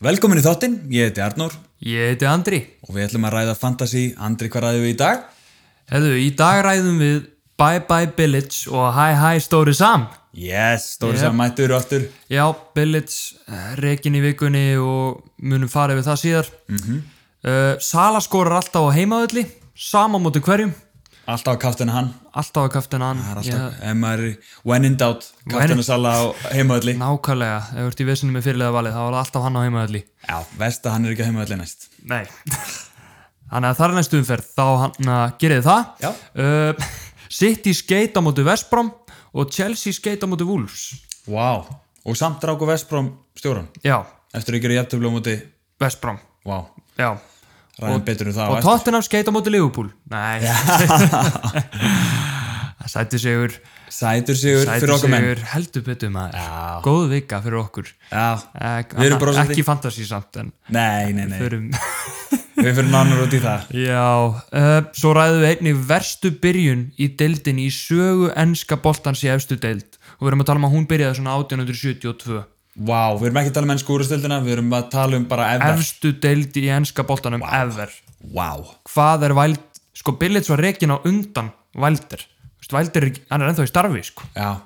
Velkomin í þáttinn, ég heiti Arnór Ég heiti Andri. og við ætlum að ræða fantasy. Andri, hvað ræðum við í dag? Hefðu, í dag ræðum við Bye Bye Billage og Hi Hi Stóri Sam. Yes, stóri yep. Yep. saman mættur og aftur. Já, Billage, eh, rekin í vikunni og munum fara yfir það síðar. Mm Mhm. -hmm. Sala skorar alltaf á heimaðulli, sama móti hverjum, Alltaf að kaftina hann. alltaf að kaftin hann. Það er alltaf, ef maður er when in doubt, kaftina sala á heimaðalli. nákvæmlega, ef þú ert í vesinu með fyrirlega valið, þá var það alltaf hann á heimaðulli. Já, vest að hann er ekki á heimaðalli næst. Nei. Þannig að þar er næstu umferð, þá hann að gerði það. Já. Uh, City skeit á móti Vestbrom og Chelsea skeit á móti Wolves. Vá, wow. og samt ráku Vestbróm stjóran. Já, Eftir að gera jæftöflu á móti, Vestbrom, vá, já. ræðum betur um það. á Og eftir. Tottenham skeit á móti Liverpool. Nei. Sættu sigur. Sætur sigur fyrir Sætur okkar menn. sigur, heldur betur maður. Já. Góð vika fyrir okkur. Já, Ek, Við erum brosandi. Ekki fantasy samt, en nei, nei, nei, förum. við fyrir nánar út í það. Já, uh, svo ræðum við einnig verstu byrjun í deildin í sögu enska boltans í efstu deild. Og við erum að tala um að hún byrjaði svona 1872. Vá, við erum ekki að tala um ennsku úrstöldina, við erum að tala um bara ever. Efstu deild í enska boltanum ever. Vá, hvað er væld sko Billits var reikin á undan Vældir Vældir, hann er ennþá í starfi sko. já,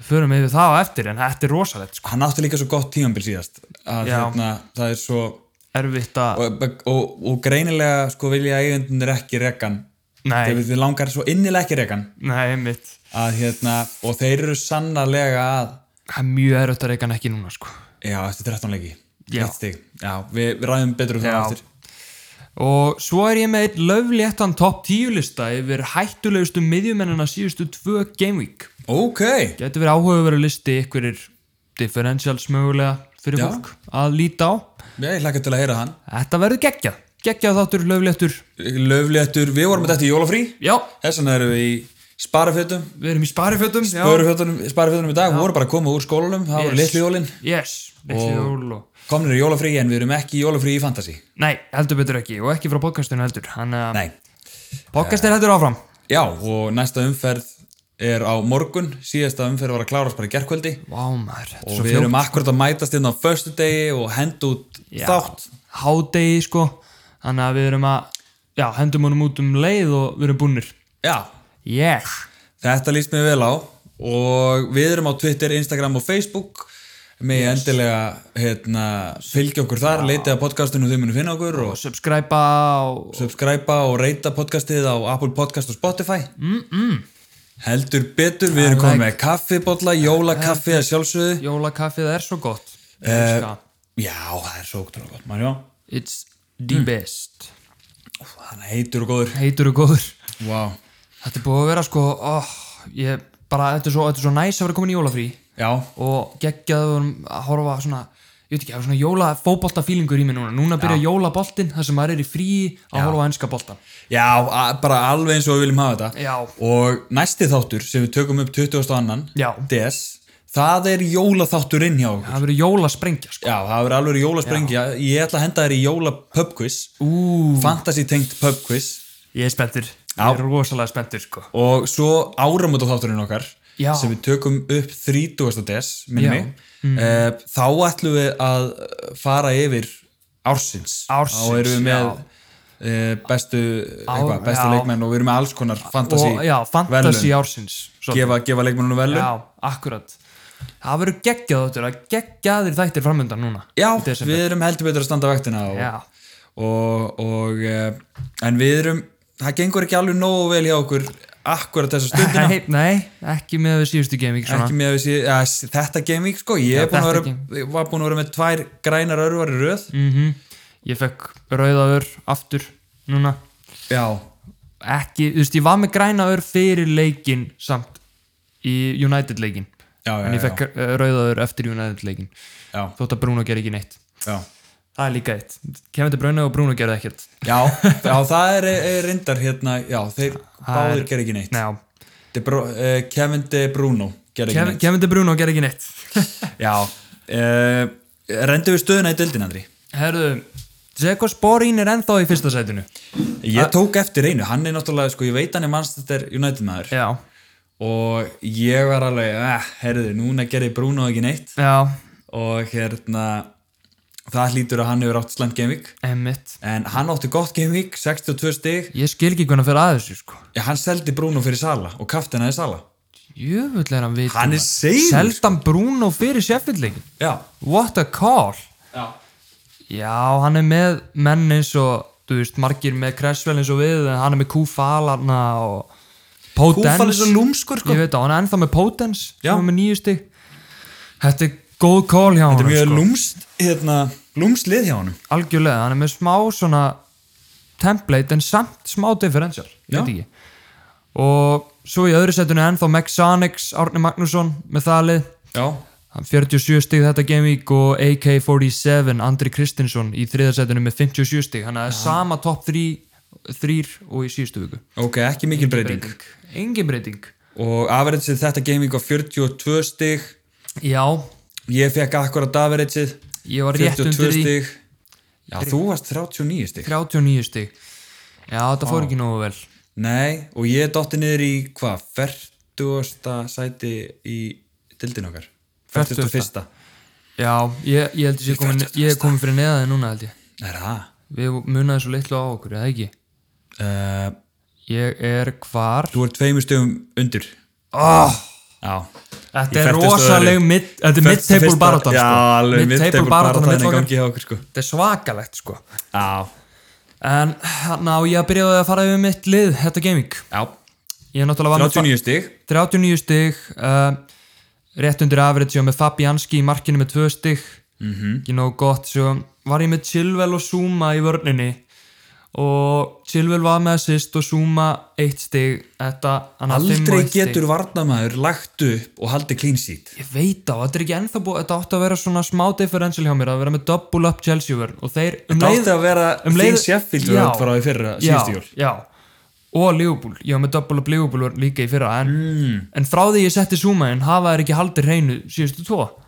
förum við það á eftir en þetta er rosalegt sko. hann átti líka svo gott tímanbíl síðast að Já. hérna, það er svo erfitt að og, og, og greinilega sko vilja eigendunir ekki rekan nei, þegar við langar svo innilega ekki rekan nei, mitt að hérna, og þeir eru sannarlega að það er mjög erfitt að reika hann ekki núna sko. já, eftir 13 leiki Já. Eitt stig. já, við, við ræðum betur um það Já. eftir og svo er ég með einn löfléttan topp 10 lista yfir hættulegustu miðjumennina síðustu tvö game week ok, getur verið áhugaveru listi ykkurir differentials mögulega fyrir Já. fólk að líta á ég hlakka til að heyra hann þetta verður geggjað, geggjað þáttur löfléttur löfléttur, við vorum þetta í jólafrí já, þess vegna erum við í sparafjötum við erum í sparifötum já. sparafjötunum í dag, vorum bara að koma úr skólanum það voru Yes. litlu jólin, Yes, litli Og- jól og... komnir í jólafrí en við erum ekki í jólafrí í fantasy Nei, heldur betur ekki og ekki frá podcastinu heldur Hann að nei, Eh. podcast er heldur áfram Já, og næsta umferð er á morgun, síðasta umferð var að klárast bara í gerkvöldi Vá maður, þetta er og svo við fljótt erum akkurat að mætast inn á förstu degi og henda út Já. þátt Hádegi sko Þannig að við erum að Já, hendum honum út um leið og við erum búnir Já, Yes þetta líst mér vel á og við erum á Twitter, Instagram og Facebook með endilega hérna, fylgja okkur þar, leitið að podcastinu og þau munu finna okkur Og og subscribe og... subscriba og reyta podcastið á Apple Podcast og Spotify mm, mm. Heldur betur, við erum komið með kaffibotla, jólakaffi að sjálfsögðu Jólakaffið er svo gott Eh, Elska. Já, það er svo ótrúlega gott, Marjó. It's the Mm. best Þannig heitur og góður. Heitur og góður Vá. Þetta er búið að vera sko oh, Ég bara, þetta er svo, þetta er svo næs að vera komin í jólafrí Já, og geggjaður að horfa á svona, ég veit ekki, það er svona jóla fótbolta fílingur í mig núna, núna byrja jólaboltin þar sem maður er í frí að horfa á ennska boltan já a- bara alveg eins og við viljum hafa þetta. Já. Og næsti þáttur sem við tökum upp 22. Já. DS, það er jólaþátturinn hjá okkur. það verður jólasprengja sko Já, það er alveg jólasprengja. Ég ætla að henda þér í jólapubquiz, Ú, fantasy tengt pubquiz ég er spenntur, ég er rosalega spenntur sko og svo áramóta þátturinn okkar Já. sem við tökum upp 30. DS, minni Já. mig. Mm. Þá ætlum við að fara yfir ársins. Ársins, Þá erum við með já. eh, bestu, eitthvað, bestu já. leikmenn og við erum með alls konar fantasi og já, fantasi ársins svo. Gefa, gefa leikmennunum velun. já, akkurat það verður geggjað þáttur, það geggjaðir þættir framöndan núna Já, í desember. við erum heldur betur að standa vektina og, Já. og, og eh, en við erum, það gengur ekki alveg nógu vel hjá okkur akkurat þessa stundina. Nei, nei, ekki með við síðustu game ekki svona ekki með að við sé, að, s- þetta game week sko, ég er búin að þetta vera, ég var búin að vera með tvær grænar örvar í röð Mhm. ég fekk rauðaður aftur núna já, ekki, þú veist, ég var með græna ör fyrir leikin samt í United leikin Já, já, en ég já. fekk eh, rauða ör eftir United leikin já, þótt að Bruno gerði ekki neitt já það er líka eitt, kemur til Bruno og Bruno gerði ekkert já, já, það er, er reyndar hérna, já, þeir báðir er- ger ekki neitt Nei, já. De Bru, uh, Kevin De Bruno ger ekki Kev- kemur til Bruno og gerði ekki neitt neitt já, uh, rendu við stöðuna í dildin Andri herðu, Zeko Sporín er ennþá í fyrsta sætinu Ah. ég tók eftir einu, hann er náttúrulega sko, ég veit hann er Manchester United maður já, og ég var alveg, eh, herðu, núna gerði Bruno ekki neitt já, og hérna það hlýtur að hann hefur átt slæmt gameweek Emmitt en hann átti gott gameweek, 62 stig Ég skil ekki hvernig að fyrir aðeins sko. Já, hann seldi Bruno fyrir Sala og kaftinaði Sala Jöfull er hann vit Hann er sko. seigur, Seldan Bruno fyrir Sheffieldleikin Já, What a call já. Já, hann er með menn eins og þú veist, margir með Cresswell eins og við en hann er með Kúfalarna og Potence Kúfan er svo lúmskur sko Ég veit að hann er ennþá með Potence Já. sem er með nýju stig Þetta er góð call hjá Þetta er hann mjög sko. lúmst, hérna, lúmst lið hjá honum algjörlega, hann er með smá svona template en samt smá differential ég Já. veit ekki og svo í öðru setinu ennþá Mexanix Árni Magnússon með þalið Já, Hann 47 stig þetta gameweek og AK47 Andri Kristinsson í þriðarsætinu með 57 stig þannig að það er sama topp 3 þrýr og í síðustu viku ok, ekki mikil breyting Engin breyting og averageið þetta gaming á 42 stig Já, ég fekk akkurat averageið ég var rétt 42 undir í stig já, þú varst 39 stig 39 stig Já, þetta fór ekki nógu vel nei, og ég dotti niður í hvað, 40 sæti í dildin okkar 40. 41. Já, ég, ég held að ég komin, ég komin fyrir neðaði núna held ég er það Við munaði svo litlu á okkur, eða ekki uh, Ég er hvar þú er tveimur stöðum undir oh, já, Í Þetta er 42. rosaleg mid, Þetta er mid-table 41. baráttan sko. já, alveg mid-table baráttan er millokkar gangi hjá okkur sko Þetta er svakalegt sko já, En ná, ég byrjaði að fara yfir mitt lið þetta gaming. já, Ég er náttúrulega var með 39 stig 39 stig uh, rétt undir average og með Fabianski í markinu með 2 stig Mhm. -hmm. ekki nóg gott, svo var ég með Chilwell og Zuma í vörninni og Chilwell var með assist og Zuma 1 stig þetta, hann á fimm og aldrei eitt stig. getur varnamæður lagt upp og haldið clean sheet Ég veit á, þetta er ekki ennþá búið þetta átti að vera svona smá differential hjá mér að vera með double up Chelsea vörn og þeir um Þetta leið- átti að vera um leið- þín Sheffield Já. vörð frá í fyrra síðustu jól. já, og Liverpool, ég var með double up Liverpool var líka í fyrra en, Mm. en frá því ég setti Zuma inn hafa þeir ekki haldið hreinu síðustu tvo og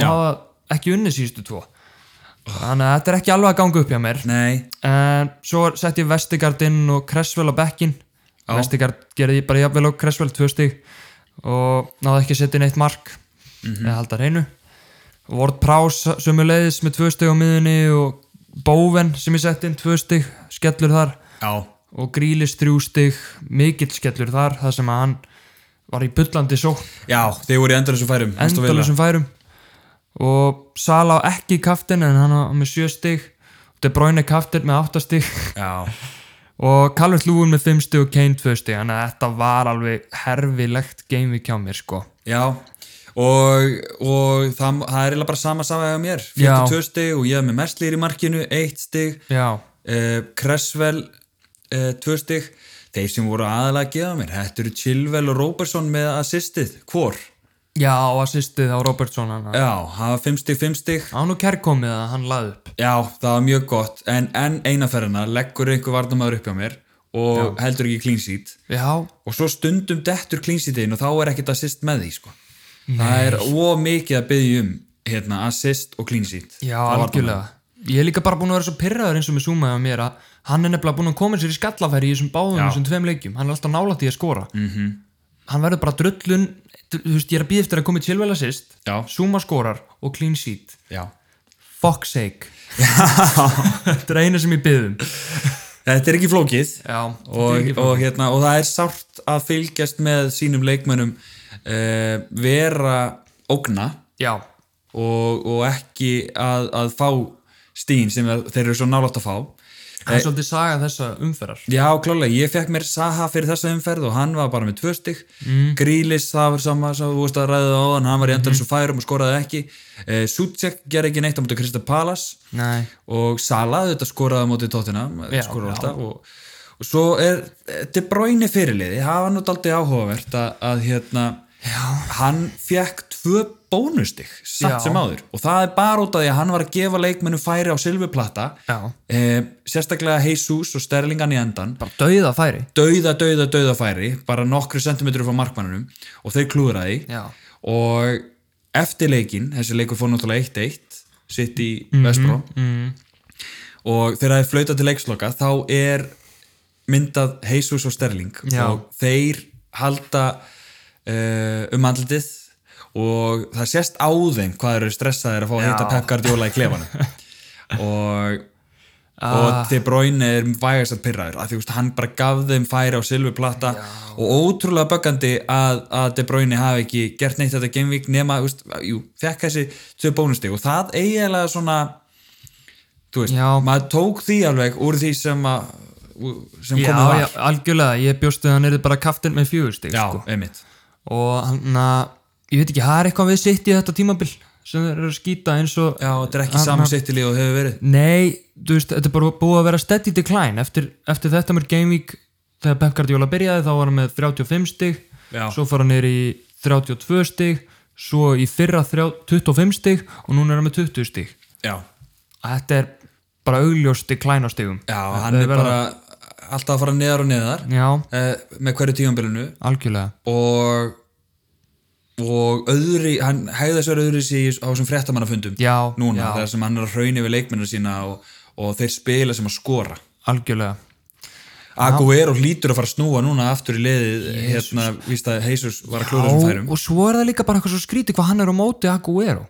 Já. hafa ekki unni síðustu tvo þannig að þetta er ekki alveg að ganga upp hjá mér Nei, en svo setti ég Vestigard inn og Cresswell á bekkin Vestigard gerði ég bara jafnvel og Cresswell tvö stig og náði ekki að setja inn eitt mark eða halda hreinu Ward Prowse sömuleiðis með tvö stig á miðunni og Bowen sem ég setti inn tvö stig skellur þar já, og Grílis þrjú stig mikill skellur þar, það sem að hann var í bullandi sók já, þeir voru í endalusum færum mest og vel. endalusum færum og Sala á ekki kaftin en hann á með sjö stig De Bruyne kaftin með átta stig Já, og Calvert Lúin með fimm stig og Kane tvö stig þannig að þetta var alveg herfilegt game við kjá mér sko já og, og það, það er eiginlega bara sama saga hjá mér, Já. 42 stig og ég hef með mestlir í markinu, 1 stig já, uh, Cresswell 2 stig, þeir sem voru aðalega að gefa mér, þetta eru Chilwell og Robertson með assistið, hvor? já og assistið á Robertson hann Já, hafa 5 stig, 5 stig hann nú kærkomið að hann laði upp Já, það var mjög gott en enn einaferðina leggur einhver varnamaður upp hjá mér og heldur ekki clean sheet já, og svo stundum dettur clean sheet inn og þá er ekkert assist með því sko. það er ómikið að byggja um hérna, assist og clean sheet Já, Frá varnarmanni. algjörlega. Ég er líka bara búin að vera svo pyrraður eins og með Zuma á mér að hann er nefnilega búin að koma sér í skallafæri í þessum báðum þessum tveim leikjum. Hann er alltaf nálætt í að skora. -hmm. Hann verður bara drullun, þú veist, ég er að býða eftir að koma í tilvæla sýst, Já. Zuma skorar og clean sheet. Já. Fuck's sake. Þetta er eina sem ég um. byðum. þetta er ekki flókið Já, þetta er og, ekki og, hérna, og það er sárt að fylgjast með sínum leikmönnum uh, vera ógna Já, og, og ekki að, að fá stín sem að- þeir eru svo nálátt að fá það er svolítið saga þessa umferðar. Já, klálega, ég fekk mér Saha fyrir þessa umferð og hann var bara með tvö stygg mm. Grílis, það var sama sem þú veist að ræða á hann, hann var í endan Mm. svo færum og skoraði ekki eh, Sucek gerði ekki neitt á móti Krista Palas Nei. og Sala þetta skoraði á móti tóttina Já, já. og, og svo er eh, De Bruyne fyrirliði, það var nú daldið áhugavert að, að hérna hann fekk tvö bónustig Já. satt sem áður og það er bara út af því að hann var að gefa leikmennu færi á silfurplata Já. eh, sérstaklega Jesus og Sterlingan í endan Bara dauða færi. dauða, dauða, dauða færi bara nokkru sentimetru frá markmannunum og þeir klúðraði Já. og eftir leikin, þessi leikur fór náttúrulega 1-1 sitt í Mhm, Vespró og þegar það er flautað til leiksloka þá er myndað Jesus og Sterling Já. og þeir halda uh, um andlitið og það sést á þeim hvað þeir eru stressaðir að fá að Já. hitta Pep Guardiola í klefanum og og De Bruyne er vægast að pyrraður að því veist, hann bara gaf þeim færi á silfurplata og ótrúlega böggandi að, að De Bruyne hafi ekki gert neitt þetta gamevík nema, þú veist, jú, fekk þessi tvö bónustig og það eiginlega svona þú veist, Já. maður tók því alveg úr því sem að sem já, komið var já, algjörlega, Um ég bjóst að hann er bara kaftin með fjögustig já, sko. einmitt og hann að ég veit ekki, það er eitthvað við sitt í þetta tímabil sem þeir eru að skýta eins og já, þetta er ekki samsittilíð og hefur verið nei, þú veist, þetta er bara búið að vera steady decline eftir, eftir þetta mörg game week þegar Pep Guardiola byrjaði þá var hann með 35 stig Já. svo fór hann niður í 32 stig svo í fyrra þrjá, 25 stig og núna er hann með 20 stig já, þetta er bara augljóst decline á stigum já Þetta hann er verið bara alltaf að fara neðar og neðar að- já, eh, með hverju tímanbylunu algjörlega og og öðri, hann hegða sér öðri sig á þessum fréttamannafundum Já, núna, já. þar sem hann er að hrauna yfir leikmennir sína og, og þeir spila sem að skora algjörlega Aguero hlýtur að fara að snúa núna aftur í liðið, hérna, víst að Heisus var að klúra þessum Já, færum og svo er það líka bara eitthvað svo skrítið hvað hann er á móti Aguero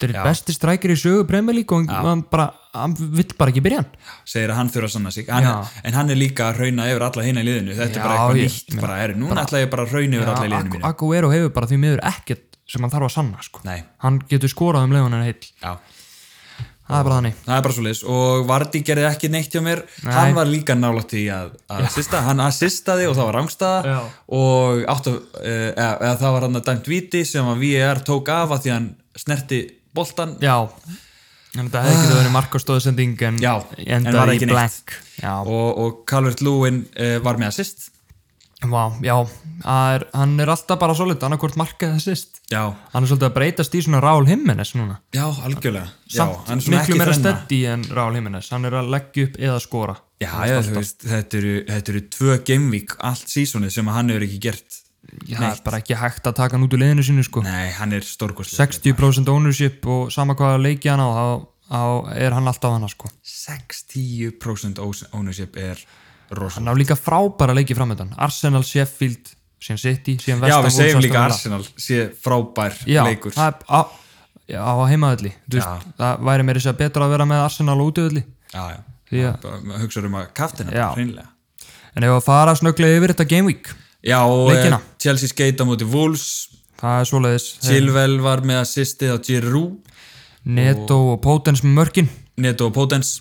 þetta er Já. eitt besti strækir í sögu Premier League og hann, bara, hann vill bara ekki byrja hann segir að hann þurfa að sanna sig hann, Já. en hann er líka að hrauna yfir alla hinna í liðinu þetta Já, er bara eitthvað ég- nýtt, bara er núna ætla ég bara að hrauna yfir alla í liðinu Agu- mínu Aguero hefur bara því miður ekkert sem hann þarf að sanna sko. Nei. hann getur skorað um leiðan en heill Já. það er bara þannig það er bara svo leis og Vardí gerði ekki neitt hjá mér hann var líka nálægt í að, að assista, hann assistaði og það var rangstaða Já. og áttu, eh, eða, eða það var hann að dæmt viti sem að VAR tók af að því hann snerti boltan já, en þetta hefði getið verið markastóðsending Ah. en Já, en endaði var ekki í neitt. blank já, og, og Calvert Lewin uh, var með assist Vá, já það er, hann er alltaf bara solid annarkvort markað það sýst já, hann er svolítið að breytast í svona Raúl Jiménez núna já algjörlega já, samt hann er svona miklu ekki meira þrenna steady en Raúl Jiménez hann er að leggja upp eða skora já, já, þú veist, þetta eru, þetta eru tvö gamevík allt sísonið sem að hann hefur ekki gert Já, það er bara ekki hægt að taka hann út úr liðinu sínu sko. nei, hann er stórkoslega 60% ownership og sama hvaða leiki hann á þá, þá er hann alltaf hann sko. 60% ownership er rosalega hann á líka frábæra leiki framöndan Arsenal, Sheffield, síðan City síðan Já, Vestam, við segjum líka Arsenal sé frábær já, leikur það er á, já, á heimaðalli Já. það væri meira sér betra að vera með Arsenal á útöðalli Já, já, Því að- Bara hugsaður um að kaftina Já. hreinlega en ef að fara snögglega yfir þetta game week Já, og eh, Leikina. Eh. Chelsea skeita múti Wolves það er svoleiðis Silvel var með assistið á Giroud Neto og Potence með mörkin Neto og Potens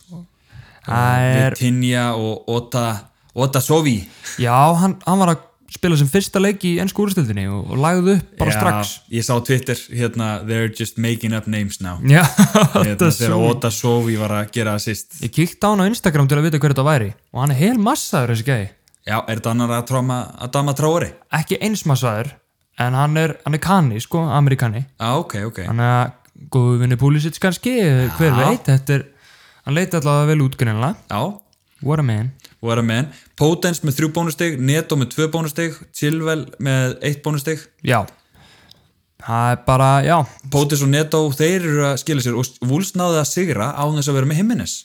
það er Vitinha og Ota Ota Sovi Já, hann, hann var að spila sem fyrsta leik í ennsku úrstildinni og, og lagði upp bara strax Ég sá á Twitter, hérna They're just making up names now Já, hérna, þetta Þegar svo Ota Sovi var að gera assist Ég kíkti á hann á Instagram til að vita hver þetta væri og hann er hel massaður þessi gæði Já, er þetta annar að, tróma, að dama tróri? ekki eins massaður en hann er, hann er kanni, sko, amerikani Já, ok, ok hann er að góðu vinni Pulisic kannski, hver veit þetta er, hann leiti allavega vel útgrunnilega Já, What a man What a man. Potence með þrjú bónustig, Neto með tvö bónustig, Chilwell með eitt bónustig. Já, það er bara, já Potence og Neto, þeir eru að skila sér og Wolves náði að sigra á þess að vera með Jimenez.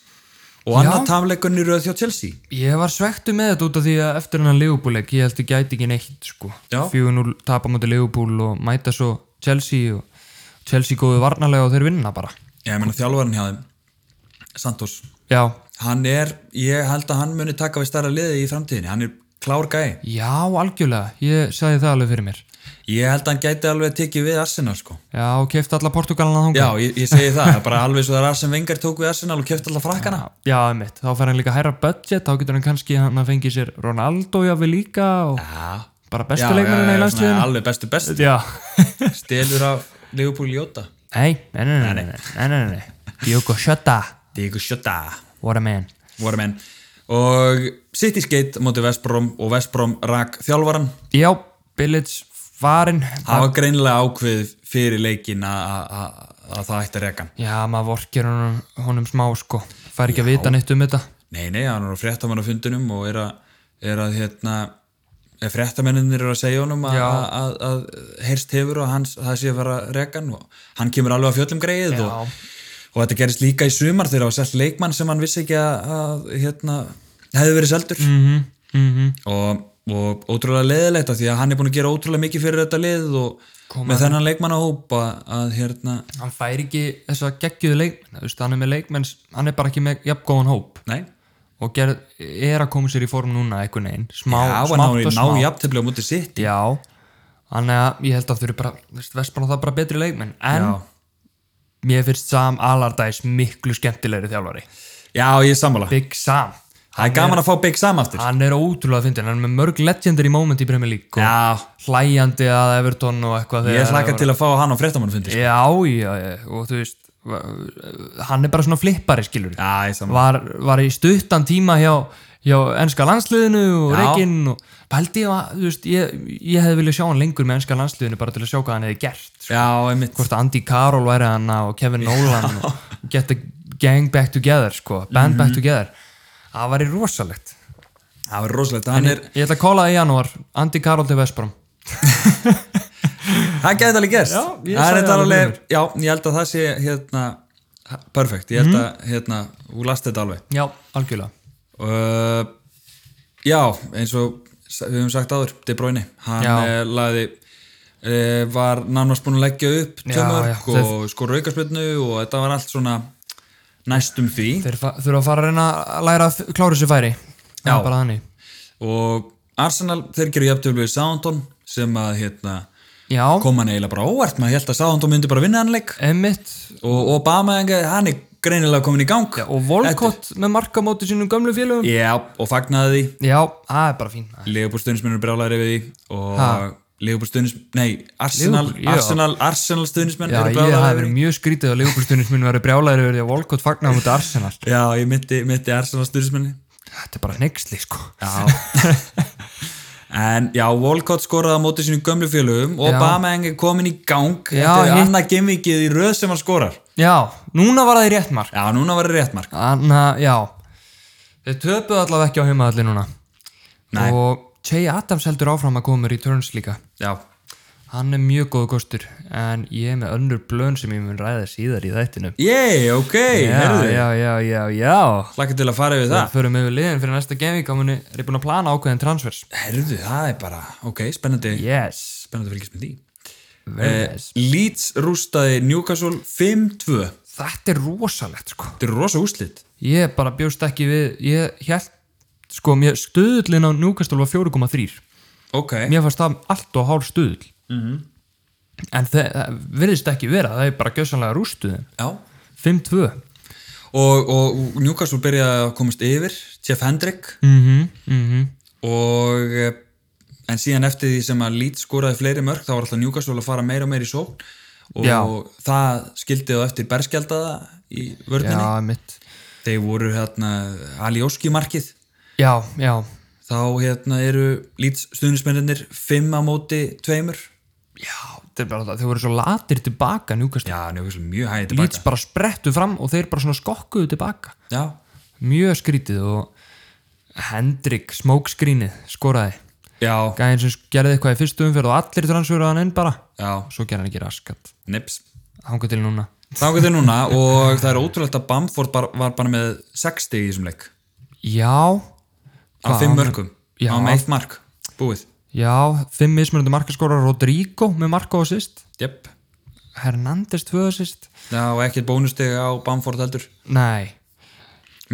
Og annar tamleikunni eru að þjá Chelsea. Ég var svektu með þetta út af því að eftir hennar Leopold ég held ég gæti ekki neitt sko. Já. 4-0 tapa mútið Leopold og mæta svo Chelsea og Chelsea góðu varnalega og þeir vinna bara Já, ég meina þjálfarinn hjá þeim, Santos. Já, Hann er, ég held að hann muni taka við starra liði í framtíðinni. Hann er klár gæi. já algjörlega ég sagði það alveg fyrir mér Ég held að hann gæti alveg tekið við Arsenal, sko. Já, og kefti alla Portugalina þangað Já, ég, ég segi það. Bara alveg svo það er Arsene Wenger tók við Arsenal og keft alltaf frakkana. Já, einmitt, þá fær hann líka hærra budget þá getur hann kannski hann að fengi sér Ronaldo jáfnveg líka og Já. bara Já, bestu já, leikmennina í já, svona landsliðinu alveg bestu best Já, stelur af Liverpool Jóta nei, nei, nei, nei, nei, nei, nei, nei, nei. Diogo Shota, Diego Sjöta what a man voru menn og City skeitt móti Vestbrom og Vestbrom rak þjálfaran Já, Billits farinn það var greinilega ákveð fyrir leikin að- að að- að það ætti að reka hann. Já, maður vorkir honum, honum smá sko fær ekki að vita neitt um þetta nei nei, hann er á fréttamannafundunum og er að, er að hérna er fréttamenninir eru að segja honum að, Já. að, að, að heyrst hefur og hans, það sé að vera rekan og hann kemur alveg að fjöllum greið og, og þetta gerist líka í sumar þegar það var selt Mhm, leikmann sem hann vissi ekki að, að hérna, hefði verið seldur mm -hmm, mm -hmm. og og ótrúlega leðilegt af því að hann er búin að gera ótrúlega mikið fyrir þetta lið og með þennan leikmannahóp að, að hérna, hann fær ekki þess að geggjuðu leikmenn þú veist, hann er með leikmenn, hann er bara ekki með jafn góðan hóp nei og gerð, er að koma sér í form núna einhvern veginn, smá, Já, hann smátt náði og smá ná jafntefli á mútið sitt já, þannig að ég held að þau eru bara, þú veist, Vestbrann það bara betri leikmenn en mér finnst Sam Allardyce miklu skemmtilegri þjálfari, Já, ég er sammála Big Sam Það er gaman að fá Big Sam aftur hann er ótrúlega fyndin, hann er með mörg legendir í moment í Premier League og Já, hlæjandi að Everton og eitthvað ég þegar- hlakka til að fá hann á sko. fréttamannufundi já, já, já, og þú veist va- hann er bara svona flippari skilur Já, ég er sammála var, var í stuttan tíma hjá, hjá ennska landsliðinu og Já. reikinn og pældi ég að, þú veist, ég, ég hefði viljað sjá hann lengur með ennska landsliðinu bara til að sjá hvað hann hefði gert sko. Já, einmitt hvort Andy Carroll væri hann og Kevin Nolan og get the gang back together sko, band back together það væri rosalegt Það var rosalegt, hann er, ég ætla að kóla það í janúar, Andy Carroll til Vesprum það gæti alveg gerst Já, ég Það er sagði þetta það alveg, alveg. já, ég held að það sé hérna, perfekt, Mhm. ég held að hérna, þú last þetta alveg já, algjörlega uh, Já, eins og sa- við höfum sagt áður, De Bruyne hann Já. já. laði uh, var nánast búin að leggja upp Já, tjömörk já, og skora aukarspilnu og þetta var allt svona næstum því þeir fa- þurfa að fara að reyna að læra að f- klára þessu færi já, bara þannig og Arsenal, þeir gerðu jafntöflu við Southampton sem að hérna, já, koma hann eiginlega bara óvart maður held að Southampton myndi bara vinna hann leik Emmitt og Obama, hann er greinilega komin í gang Já, og Volkott með markamóti sínum gömlu félögum Já, og fagnaði því Já, það er bara fín Leopold stuðnismennur brálaður yfir því og Ha. Leopold stuðnismenn, nei, Arsenal Liverpool, já. Arsenal, Arsenal stuðnismenn Já, eru ég það brálaður hefur yfir því mjög skrítið að leifbúrstunins minn verið brjálæður yfir því að Volkott fagnar út af Arsenal Já, ég myndi, myndi Arsenal stuðnismenni Þetta er bara nexli, sko Já En já, Volkott skoraði á móti sínu gömlu félögum og Já. Obama er komin í gang Já, Þetta er hitt- annað gemvikið í röð sem hann skorar Já, núna var það í rétt mark Já, núna var það rétt mark Þannig að, já Þeir töpuðu allavega ekki á heimaðalli núna Nei. Og Jay Adams heldur áfram að koma með returns líka Já, Hann er mjög góð kostur En ég er með önnur blön sem ég mun ræða síðar í þættinum yey, ok, Já, heyrðu já, já, já, já Hlakka til að fara yfir það Það förum yfir liðin fyrir næsta gaming og muni er ég búin að plana ákveðin transfers Heyrðu, það er bara, ok, spennandi Yes, Spennandi að fylgjast með því Eh, very nice Leeds rústaði Newcastle 5-2 Þetta er rosalegt sko Þetta er rosa úslit Ég bara bjóst ekki við Ég held, sko, mér stuðullin á Newcastle var 4,3 Ok, Mér fannst það allt og hálf stuðull -hmm. En það, það virðist ekki vera Það er bara gjössanlega rústuðin já 5-2 og, og Newcastle byrjaði að komast yfir Jeff Hendrick mm -hmm, mm -hmm. og eh, en síðan eftir því sem að Leeds skoraði fleiri mörg þá var alltaf Newcastle að fara meira og meira í sókn og Já. það skildi þá eftir berskjaldada í vörninni Já, mitt Þeir voru hérna Alioski markið Já, já þá hérna eru Leeds stuðnismennir fimm á móti tveimur Já, þetta er bara það Þau voru svo latir tilbaka Newcastle Já, Newcastle mjög hægði tilbaka Líts bara sprettu fram og þeir bara svona skokkuðu tilbaka Já, Mjög skrítið og Hendrik, smókskrínið, skoraði já, gæðin sem gerði eitthvað í fyrstu umferð og allir transferuðu hann inn bara já, svo gerði hann ekki raskat nips hanga til núna Þá getur núna og það er ótrúlegt að Bamford bar, var bara með 60 í þessum leik já, á Hvað, fimm hann- mörgum, Já. á með eitt mark búið, já, fimm mismunandi markaskórar Rodrigo með marka og sýst jöpp Hernandez tvö og sýst Já, og ekkert bónusteg á Bamford heldur nei,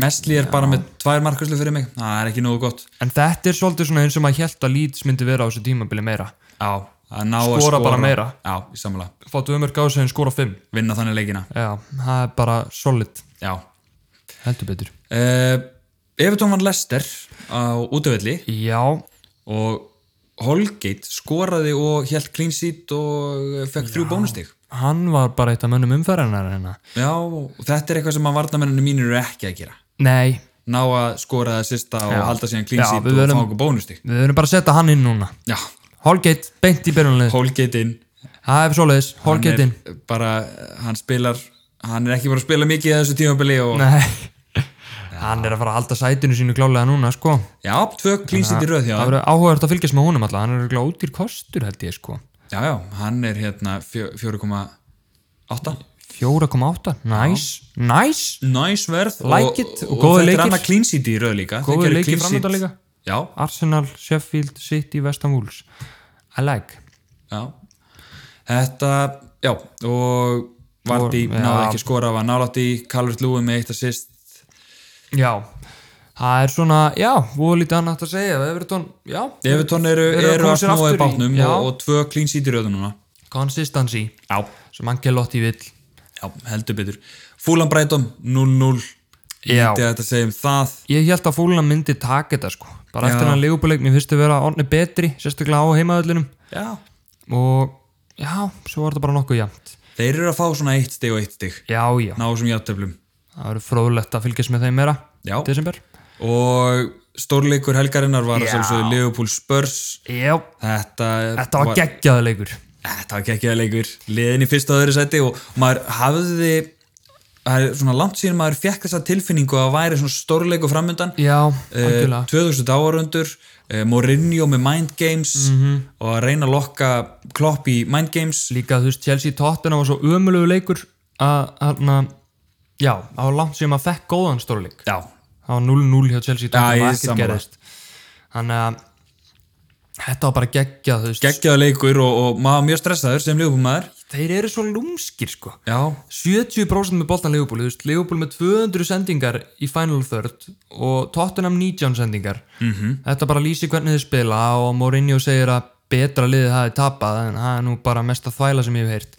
Mestli er bara með tvær markværslu fyrir mig Það er ekki nógu gott en þetta er svolítið svona eins og maður held að Leeds myndi vera á þessu tímabili meira Já, að ná að Skora bara meira. Já, í samlega, fá tvö mörg á sig en skora fimm vinna þannig leikina já, það er bara solid Já heldur betur uh, Evertón vann Lester á útöfelli já, og Holgate skoraði og held clean seat og fekk þrjú bónusteg hann var bara eitt af mönnum umferðarnar hérna Já, og þetta er eitthvað sem að varnamenninu mínir eru ekki að gera nei, Ná að skora það sista og Já. halda síðan clean Já, seat við og verðum- fá okkur bónusteg við verðum bara að setja hann inn núna Já, Holgate, beint í byrjunlið Holgate inn Það er svoleiðis, Holgate inn er bara, hann spilar hann er ekki bara að spila mikið í þessu tímabili og Nei Hann er að fara að halda sætinu sínu klálega núna sko. já, tvö klínsið í röð hjá Það hann verður áhugavert að fylgjast með honum alltaf Hann er örugglega ódýr kostur held ég sko. já, já, hann er hérna fjö- 4,8 4,8, næs Næs, næs verð Like it, og og, og, þetta góðir leikir. er annað klínsið í röð líka Þeir góðu gerðu leikir clean sheet framönda líka já, Arsenal, Sheffield, City, Westham Wolves I like já þetta, já, og Vardí Og- náði já. ekki skora, var nálætt í Calvert Lúi með eitt assist Já, það er svona, já, voru lítið annað að segja Everton, já, Evertón eru, Eru að eru koma að sér snúa aftur í í- bátnum já. og, og tvö clean seat í röðun núna consistency já, sem Angelotti vill já, heldur betur Fúlan Breitum, 0-0 Já. lítið að þetta segja um það Ég held að fólina myndi taka þetta sko bara Já. eftir hann legubuleik, mér finnst þau vera orðni betri sérstaklega á heimaðöllunum já. og já, svo var þetta bara nokkuð jæmt þeir eru að fá svona eitt stig og eitt stig Já, já, ná þessum játtöflum það verður fróðlegt að fylgjast með þeim meira Já. desember og stórleikur helgarinnar var að Já. sjálfsögðu Liverpool Spurs Já, þetta, þetta var geggjaðu leikur þetta var geggjaða leikur liðin í fyrsta og öðru sæti og maður hafði það er svona langt síðan maður fekk þessa tilfinningu að væri svona stórleikur framöndan Já, Eh, algjörlega 2000 áarundur uh, Mourinho með Mind Games Mhm. og að reyna að lokka klopp í Mind Games Líka þú veist, Chelsea Tottenham var svo ömulegu leikur að hann já, það var langt sem að fekk góðan stóruleik já, það var 0-0 hjá Chelsea ég Tottenham er og ekkert sammála. gerðist þannig að þetta var bara geggjað þú veist, geggjaða leikur og, og maður var mjög stressaður sem lífbúmaður þeir eru svo lúmskir sko já, 70% með boltan Leopold, þú veist, Leopold með 200 sendingar í Final Third og Tottenham 19 sendingar -hmm. Mhm. þetta bara lýsi hvernig þið spila og Mourinho segir að betra liðið hafi tapað en það er nú bara mesta þvæla sem ég hef heyrt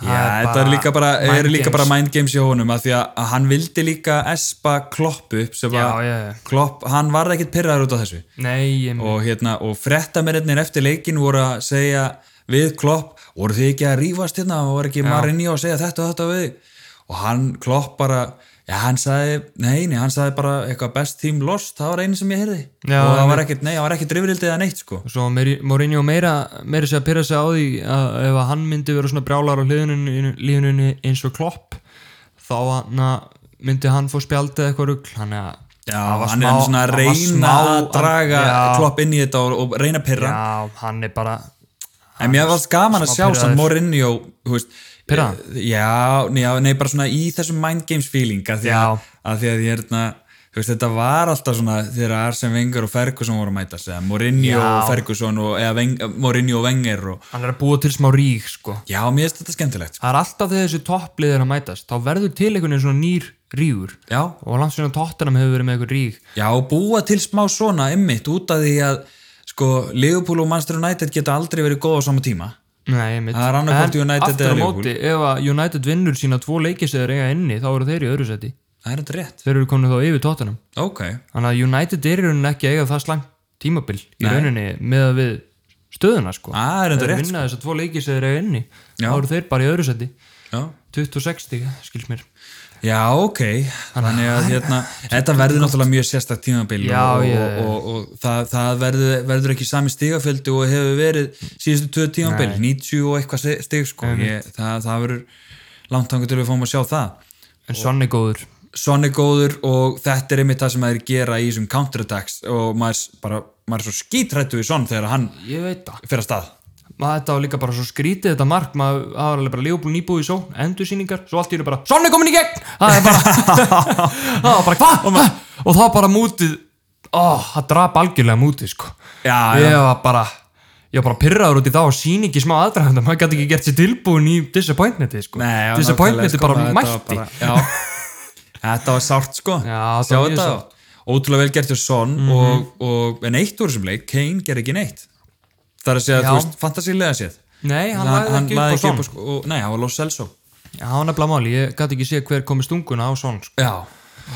já þetta er líka bara, mind er líka games. bara Mind Games hjá honum að því að, að hann vildi líka espa klopp upp sem já, að já, já, klopp, hann varði ekkit pyrraður út af þessu nei, ég og hérna, og frettamennir eftir leikin voru að segja við Klopp, voru þið ekki að rífast hérna og voru ekki Marinho að segja þetta og þetta við þig?" og hann Klopp bara já, hann sagði, nei, nei, hann sagði bara eitthvað best team lost, það var einu sem ég heyrði Já, og það var ekkert, nei, það var ekkert drifrildið eða neitt sko, Og Svo meiri, Mourinho meira, meira sér að pyrra sig á því að ef að hann myndi vera svona brjálar á liðuninu liðuninu eins og klopp þá hann að myndi hann fó spjaldið eitthvað rugl hann að já, það var hann er svona að það var reyna að smá- draga já, Klopp inn í þetta og, og reyna að pyrra Já, hann er bara en mér varst gaman að smá sjá samt pirraður. Mourinho þú veist, Pirraður? eh, já, nei, já, nei, bara svona í þessum mind games feeling að því að, að, því að hérna, þú veist, þetta var alltaf svona þegar Arsene Wenger og Ferguson voru að mætast eða Mourinho Já. og Ferguson og, eða Veng, Mourinho og Wenger og, hann er að búa til smá rík sko já, mér finnst þetta skemmtilegt sko. Það er alltaf þegar þessi topplið er að mætast þá verður til einhvern veginn svona nýr rígur já, og langt sinna tóttunum hefur verið með einhvern rík já, og búa til smá svona ymmit út af því að sko, Liverpool og Manchester United geta aldrei verið góð á sama tíma Nei, einmitt. Það er annaðhvort En United aftur eða á Liverpool. móti, ef að United vinnur sína tvo leikis eða eiga inni, þá eru þeir í öðru seti það er þetta rétt, þeir eru komin þá yfir tóttunum ok þannig að United er í rauninni ekki að eiga það slangt tímabil í rauninni með að við stöðuna sko það er þetta þeir rétt, vinna þess að tvo leikis eða eiga inni Já. þá eru þeir bara í öðru seti já 26 2060, skils mér Já, ok, þannig Ah, að hérna, þetta verður náttúrulega mjög sérstakt tímabil Já, og, já, og, og, og það, það verður, verður ekki sami stigafjöldi og hefur verið síðustu tvö tímabil, 90 og eitthvað sti- stig sko, ég, það, það verður langt tangu til við fáum að sjá það en Sonny góður Son er góður og þetta er einmitt það sem maður gera í þessum counterattacks og maður, s- bara, maður er svo skítrættu í Son þegar hann ég veit það fer að stað maður þetta var líka bara svo skrítið þetta mark maður það var alveg bara lífbúl nýbúið svo endursýningar svo allt í eru bara Sonny komin í gegn það er bara það var bara hvað og það var bara mútið ó, það drap algjörlega mútið sko Já, ég var bara ég var bara pyrraður út í þá og sín ekki smá aðdraðan maður gæti ekki gert sér tilbúin í disappointmenti sko. Nei, já, nákvæmlega, disappointmenti sko, þetta var bara mætti bara- Já, þetta var sárt sko Já, þetta Sjá var mjög þetta sárt. Mhm. Ótrúlega vel gert hjá Son og, og en eitt úr þessum leik, Kane ger ekki neitt Það er að segja, Já. þú veist, fantasílega séð nei, hann lagði ekki upp á svon sko, og, Nei, hann var Los Celso já, hann er blá máli, ég gæti ekki séð hver komið stunguna á svon sko. Já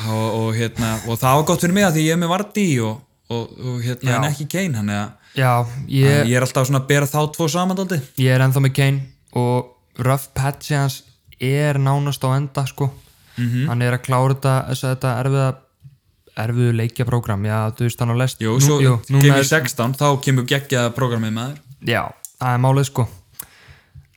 og, og, hérna, og það var gott fyrir mig að því ég er með Vardí og, og, og hérna, Já. en ekki Kane hann eða já, ég Ég er alltaf svona að bera þá tvo samandaldi ég er ennþá með Kane og rough patchi hans er nánast á enda sko Mhm. hann er að klára þetta, þessa- þetta erfiða erfiðu leikjaprógram já, þú veist hann á lest Jú, Nú- svo jú, núna kemur er, 16, þá kemur geggjaða programmið maður já, það er málið sko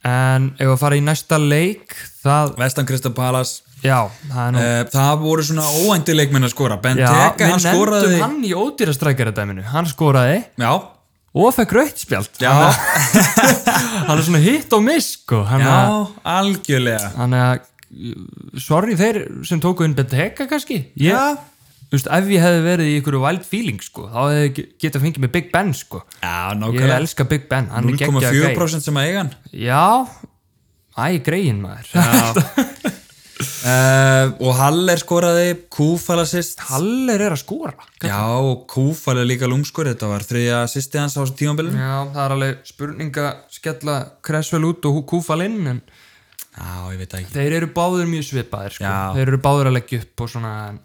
en ef að fara í næsta leik það, Vestan Krista Palace já, það er nú Eh, Það voru svona óænti leikmenn að skora Ben Teka, hann við skoraði nefndum hann í ódýrastrækjaradæminu hann skoraði Já, og fekk rauðspjald já, hann er svona hitt og miss sko hann já, er algjörlega Þannig að, sorry þeir sem tóku inn Benteke kannski. Ég, Já, þú veist, ef ég hefði verið í einhverju wild feeling sko, þá hefði ég getað fengið mig Big Ben sko, Já, ég nákvæmlega elska Big Ben hann er geggja greið 0,4% sem að eiga hann já, æ, greiðin maður uh, og Haller skoraði Kúfal assist Haller er að skora já, og Kúfal er líka lungskur þetta var þriðja assisti hans á þessum tímanbylun já, það er alveg spurning að skella Kressvel út og kúfal inn en já, ég veit það ekki þeir eru báður mjög svipaðir sko. Já. þeir eru báður að leggja upp og svona en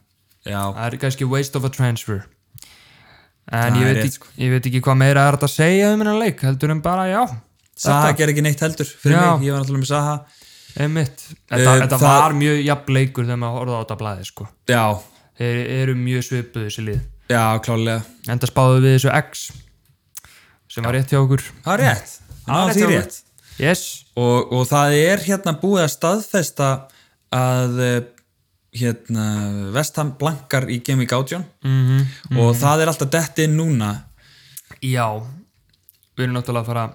já, það er kannski waste of a transfer en Það ég er veit, rétt, sko. rétt, ég veit ekki hvað meira er þetta að segja um hennan leik, heldur en bara já Saha ger ekki neitt heldur fyrir Já. mig, ég var náttúrulega með Saha einmitt, þetta, Eh, þetta það- var mjög jafn leikur þegar maður horfði á þetta blæði sko. já, þeir eru mjög svipuð þessi lið já, klálega enda spáðu við þessu X sem var rétt hjá okkur það er rétt, það er rétt hjá Ah, því okkur. rétt yes, og, og það er hérna búið að staðfesta að eh, hérna Vestham blankar í Game Week 18 Mhm, og það er alltaf detti inn núna já við erum náttúrulega að fara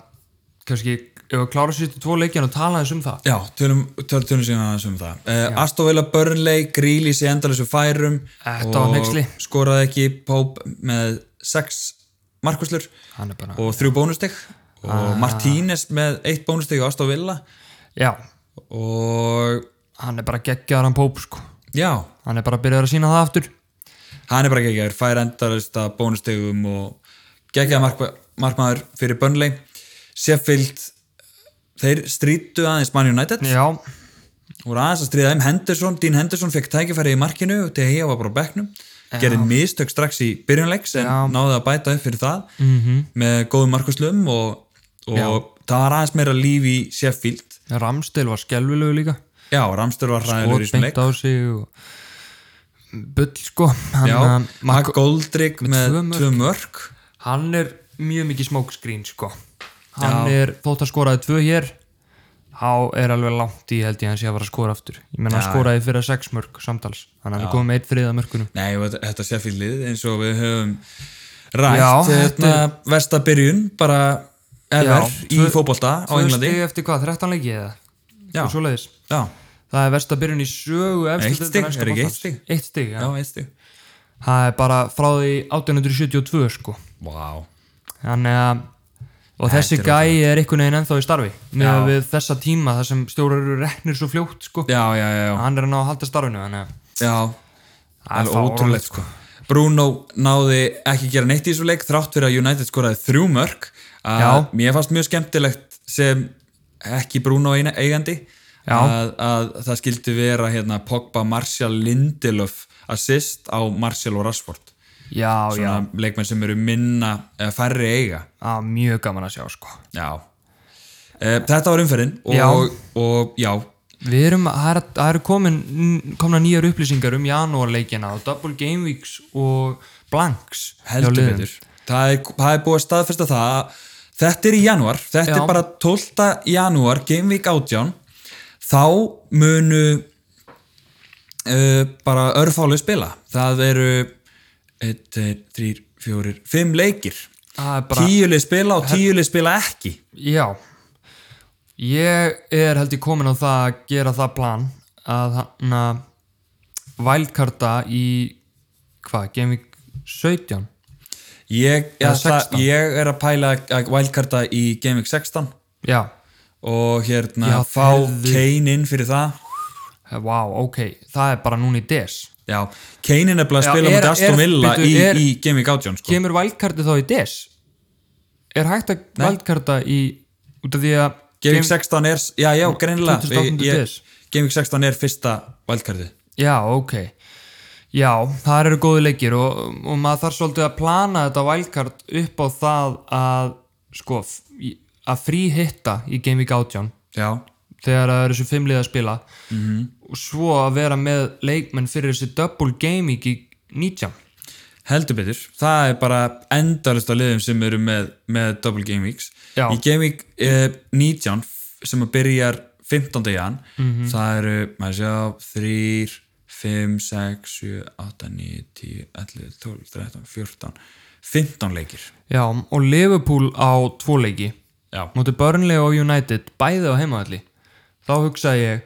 kannski, ef við klára sýttu tvo leikjan og tala þess um það Já, tölum, töl, tölum síðan aðeins um það uh, Astovila Burnley, Grealish í endalessu færum Þetta var hneyksli. skoraði ekki Pope með 6 markuslur hann er bara, Ah. og 3 bónustig og Martínez með 1 bónustig og Astovila já, og hann er bara geggjaðar hann Póp sko já, hann er bara að byrja að sína það aftur hann er bara geggjær, fær endalista bónustigum og geggjær mark, markmaður fyrir Burnley Sheffield þeir strítu aðeins Man United já, voru aðeins að stríða þeim Henderson, Dean Henderson fekk tækifæri í markinu til að hefa bara á bekknum gerði mistök strax í byrjunleiks en náði að bæta upp fyrir það Mhm. -hmm. með góðum markuslum og, og það var aðeins meira líf í Sheffield Ramstil var skelvilegu líka já, Ramstur var hræðilegur í og þessum leik beint á sig og bull sko hann, já, um, Mark Goldrick með tvö mörk. tvö mörk hann er mjög mikið smokescreen sko hann er, þótt að skoraði tvö hér þá er alveg langt í held ég að hann sé að vera að skora aftur ég menna hann skoraði fyrir sex mörg samtals þannig að hann er komið með eitt þriða mörkunum Nei, og þetta- þetta sé fyrir lið eins og við höfum rætt Já, hérna versta byrjun bara ever Já, í tvö- fótbolta á Englandi stig eftir hvað, 13 leiki eða Já. og svoleiðis Já, það er versta byrjun í sögu efstu Eitt deildar stig, enska er ekki eitt boltans. stig? eitt stig, já. já, veistu það er bara frá því 1872 sko Vá wow. þannig að og þessi gæi er einhvern veginn ennþá í starfi með við þessa tíma þar sem stjórar eru reknir svo fljótt sko Já, já, já, já, hann er að ná að halda starfinu þannig að já Það er Alveg ótrúlegt sko Bruno náði ekki gera neitt í þessu leik þrátt fyrir að United skoraði þrjú mörk að Já. mér fannst mjög skemmtilegt sem ekki Bruno eina- eigandi Já. að, að það skildi vera hérna Pogba, Martial, Lindelöf assist á Martial og Rashford já, já, svona leikmenn sem eru minna eða færri eiga á, mjög gaman að sjá sko já. E, þetta var umferðin og Já. já, og, já við erum, það er- það eru komin komna nýjar upplýsingar um janúarleikina og Double Game Weeks og Blanks hjá heldur liðum. betur það er, það er búið að staðfesta það að þetta er í janúar, þetta Já. er bara 12. janúar, Game Week 18 þá munu uh, bara örfálu spila, það eru 1, 3, 4, 5 leikir það er bara, tíulið spila og tíulið spila ekki já ég er held ég komin á það að gera það plan að hann að vældkarta í hvað, Game Week 17 Ég, ég, Eða ætla, 16. ég er að pæla að wildcarda í Game Week 16 Já, og hérna Já, fá heyrðu. Kane inn fyrir það vá, ok, það er bara núna í des Já, Kane er nefnilega að Já, spila er- með Aston er- Villa bíddu, í, er- í Game Week 18 sko. Kemur valkartið þá í des? Er hægt að valkarta í út af því að Game Week 16 er, já, já, greinilega 28. Ég- des. Game Week 16 er fyrsta wildcardi Já, ok Já, það eru góði leikir og, og maður þarf svolítið að plana þetta valkart upp á það að sko, f- í- að frí hitta í Game Week 18 Já, þegar það eru þessu fimmlið að spila -hmm. og svo að vera með leikmenn fyrir þessi double game week í 19 heldur betur Það er bara endalist á liðum sem eru með, með Double Game Weeks Já. Í Game Week eh, 19 sem að byrjar 15. jan Mhm. það eru, maður sjá, 3 5, 6, 7, 8, 9 10, 11, 12, 13, 14 15 leikir Já, og Liverpool á tvo leiki Já, mútið Burnley og United bæði á heimavalli þá hugsaði ég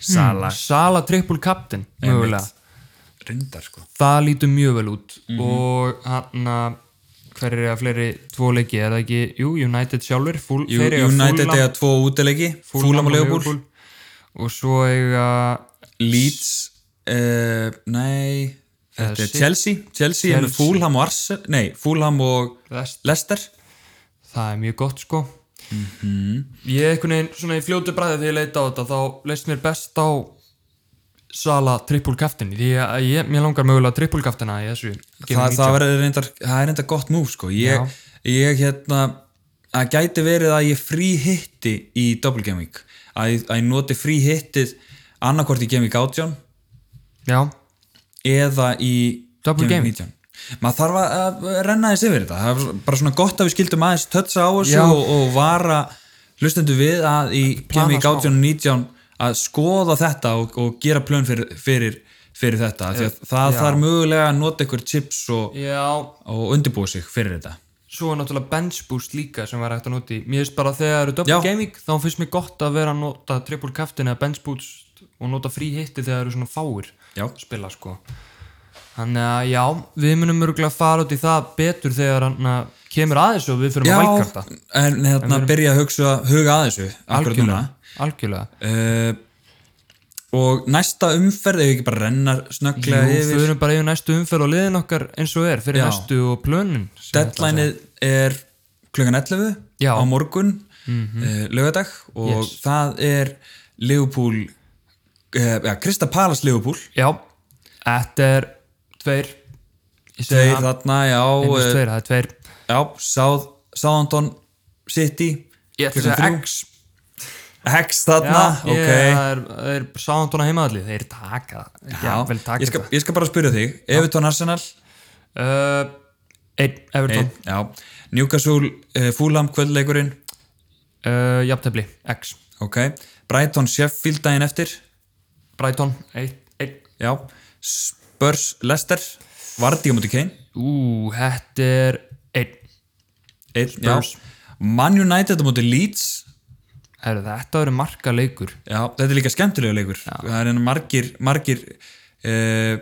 Sala Sala triple captain mögulega reyndar sko það lítur mjög vel út Mhm. og hann að hver er að fleiri tvo leiki, er það ekki jú, United sjálfur, fúl, Jú- þeir eiga United Fulham- eiga tvo útileiki Fúlam Fulham og Leopold og svo eiga Leeds uh, nei, þetta er Chelsea. Chelsea Chelsea er með Chelsea. Fúlam og Arsenal nei, Fúlam og Vest, Leicester það er mjög gott sko Mhm. ég einhvern veginn svona í fljótu bræði þegar ég leita á þetta þá leist mér best á Sala trippulkaftin því að ég, mér langar mögulega trippulkaftina í þessu Þa, það, verður reyndar, það er reyndar gott múf sko. ég, ég hérna það gæti verið að ég frí hitti í Double Game Week að, ég- að ég noti frí hittið annarkvort í Game Week 18 já, eða í Double Game Week. 19 maður þarf að, að renna þess yfir þetta það er bara svona gott að við skildum aðeins tötsa á þessu Já. og, og vara hlustendu við að í Game Plana Week smá. 18 og 19 að skoða þetta og, og gera plön fyrir, fyrir, fyrir þetta því að það Eh, já. þarf mögulega að nota ykkur chips og, já og undirbúa sig fyrir þetta svo er náttúrulega bench boost líka sem var hægt að nota í mér finnst bara þegar það eru double Já. gaming þá finnst mér gott að vera að nota triple captain eða bench boost og nota frí hitti þegar það eru svona fáir Já. að spila sko þannig að já, við munum örgulega fara út í það betur þegar hann að kemur aðeins og við fyrir að valkarta en hérna byrja að hugsa, huga að þessu akkurat núna algjörlega, uh, og næsta umferð ef við ekki bara renna Jú, snögglega við yfir erum bara yfir næstu umferð og liðin okkar eins og er fyrir Já. næstu og plönin sem ég ætla að segja. deadlineið er klukkan 11 Já. á Mhm. morgun mm lögadag og Yes. það er Liverpool uh, ja, Krista Palace Liverpool já, þetta er tveir Ég segi þeir það, þarna, já, einnig uh, tveir, það er tveir já South, Southampton City Ég ætla að klukkan segja þrjú. X Hex þarna, Já, ok ég, það er, það er sáðan tóna heimaðalli, þeir taka það. Já, vel taka ég, skal, ég skal bara spyrja þig Everton Arsenal það. Uh, einn, Everton, Eitt, já. Newcastle, uh, Fulham, kvöldleikurinn uh, jafntefli, X. ok, Brighton, Sheffield daginn eftir Brighton, einn, einn. já, Spurs, Leicester Vardy á múti Kane Ú, þetta er einn. Eitt, Spurs. já. Man United á múti Leeds Herru, þetta eru marga leikur. já, þetta er líka skemmtilega leikur það er enn margir, margir uh,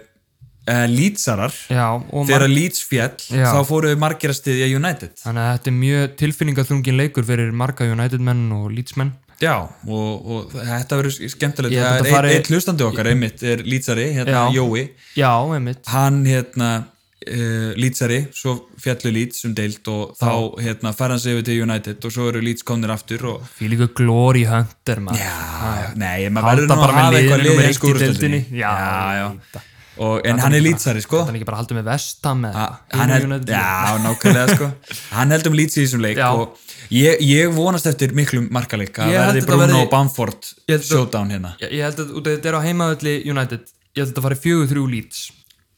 uh, Leedsarar Já, og þegar marg... Leeds fjall Já. þá fóruðu margir að styðja United þannig að þetta er mjög tilfinningaþrungin leikur fyrir marga United menn og Leeds menn. já, og, og þetta verður skemmtilegt Ég held að það er fari- fari... eitt hlustandi okkar einmitt er Leedsari, hérna Já. Jói Já, einmitt. hann hérna uh, Leedsari, svo fjallu Leeds um deilt og þá hérna fer hann sig yfir til United og svo eru Leeds komnir aftur og Fýlíku Glory Hunter, maður. já, nei, maður verður Halda nú að bara hafa með eitthvað liðinu lið með í eitt í deildinni. skúrustöldinni Já, já, já. þetta- Og, en hann er Leedsari sko Þetta er ekki bara haldið með vestam eða eitthvað. hann Hinu held, United- já, nákvæmlega sko hann held um Leeds í þessum leik Já. og ég, ég vonast eftir miklum markaleik að Ég held verði þetta Bruno verði- og Bamford Ég held þetta- showdown hérna Ég, ég held að út af þetta er á heimaðalli United Ég held að þetta fari fjögur þrjú Leeds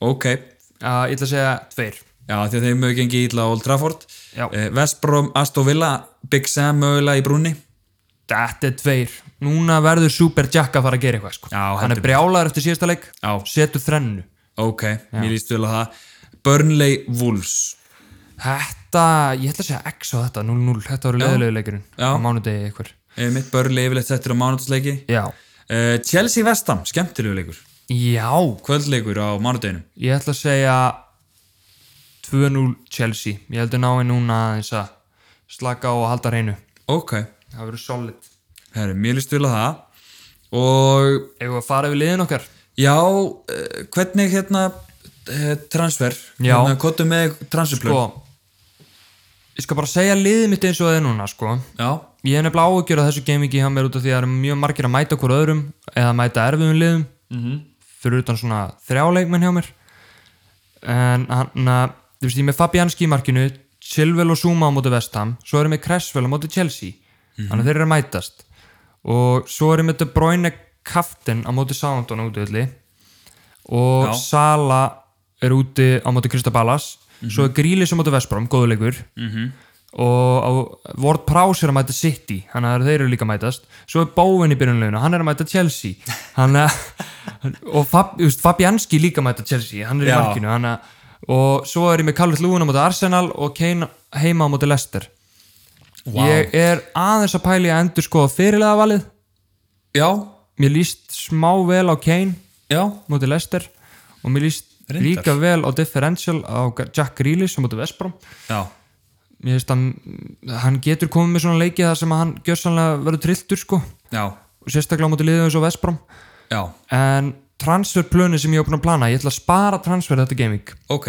ok, uh, Ég ætla að segja tveir já, því að þeim mögur gengi ítla á Old Trafford Já. Eh, West Brom, Aston Villa Big Sam mögulega í brúni Þetta er tveir Núna verður Super Jack að fara að gera eitthvað sko. Já, Hann heldur er brjálaður eftir síðasta leik Já. Setur þrennu Ok, mér líst vel að það Burnley Wolves Þetta, ég ætla að segja X á þetta 0-0, þetta voru leðilegu leikurinn Já. Á mánudegi eitthvað eh, mitt Burnley yfirleitt þetta er á mánudagsleiki Já. uh, Chelsea Vestam, skemmtilegu leikur Já, kvöldleikur á mánudaginu ég ætla að segja 2-0 Chelsea Ég held að náin núna aðeins að slaka á og halda hreinu Ok, Það verður solid herri, mér líst vel að það og Ef við að fara yfir liðin okkar já uh, hvernig hérna uh, transfer, Já. hérna kottum með transferplug, sko ég skal bara segja liðið mitt eins og það er núna sko já, ég er nefnilega áhugjur að þessu gamingi hann er út af því að það eru mjög margir að mæta okkur öðrum eða mæta erfiðum liðum -hmm. fyrir utan svona þrjáleikmenn hjá mér en hann að þú veist ég er með Fabianski í markinu Silvel og Zuma á móti Vestham svo erum við Cresswell á móti Chelsea þannig að þeir eru að mætast og svo erum við De Bruyne Kaftin á móti Soundon út í öllu og Sala er úti á móti Kristabalas Mhm. svo er Grílis á móti Vesprom, góðuleikur mm -hmm. og á- Ward Prowse er að mæta City, þannig að þeir eru líka að mætast svo er Bowen í byrjunleginu, hann er að mæta Chelsea hann er og Fab, just, Fabianski líka að mæta Chelsea hann er í Já. markinu hann er, og svo er ég með Kallur Lúin á móti Arsenal og Kane heima á móti Leicester Vá. ég er aðeins að pæli að endur skoða fyrirlega valið já mér líst smá vel á Kane já, móti Leicester og mér líst Reyndar. líka vel á differential á Jack Grealish á móti Vesbrom já, mér finnst að hann getur komið með svona leiki þar sem að hann gjössanlega verður trilltur sko já, og sérstaklega á móti liðið eins og Vesbrom já en transferplönu sem ég er búin að plana ég ætla að spara transfer þetta gaming ok,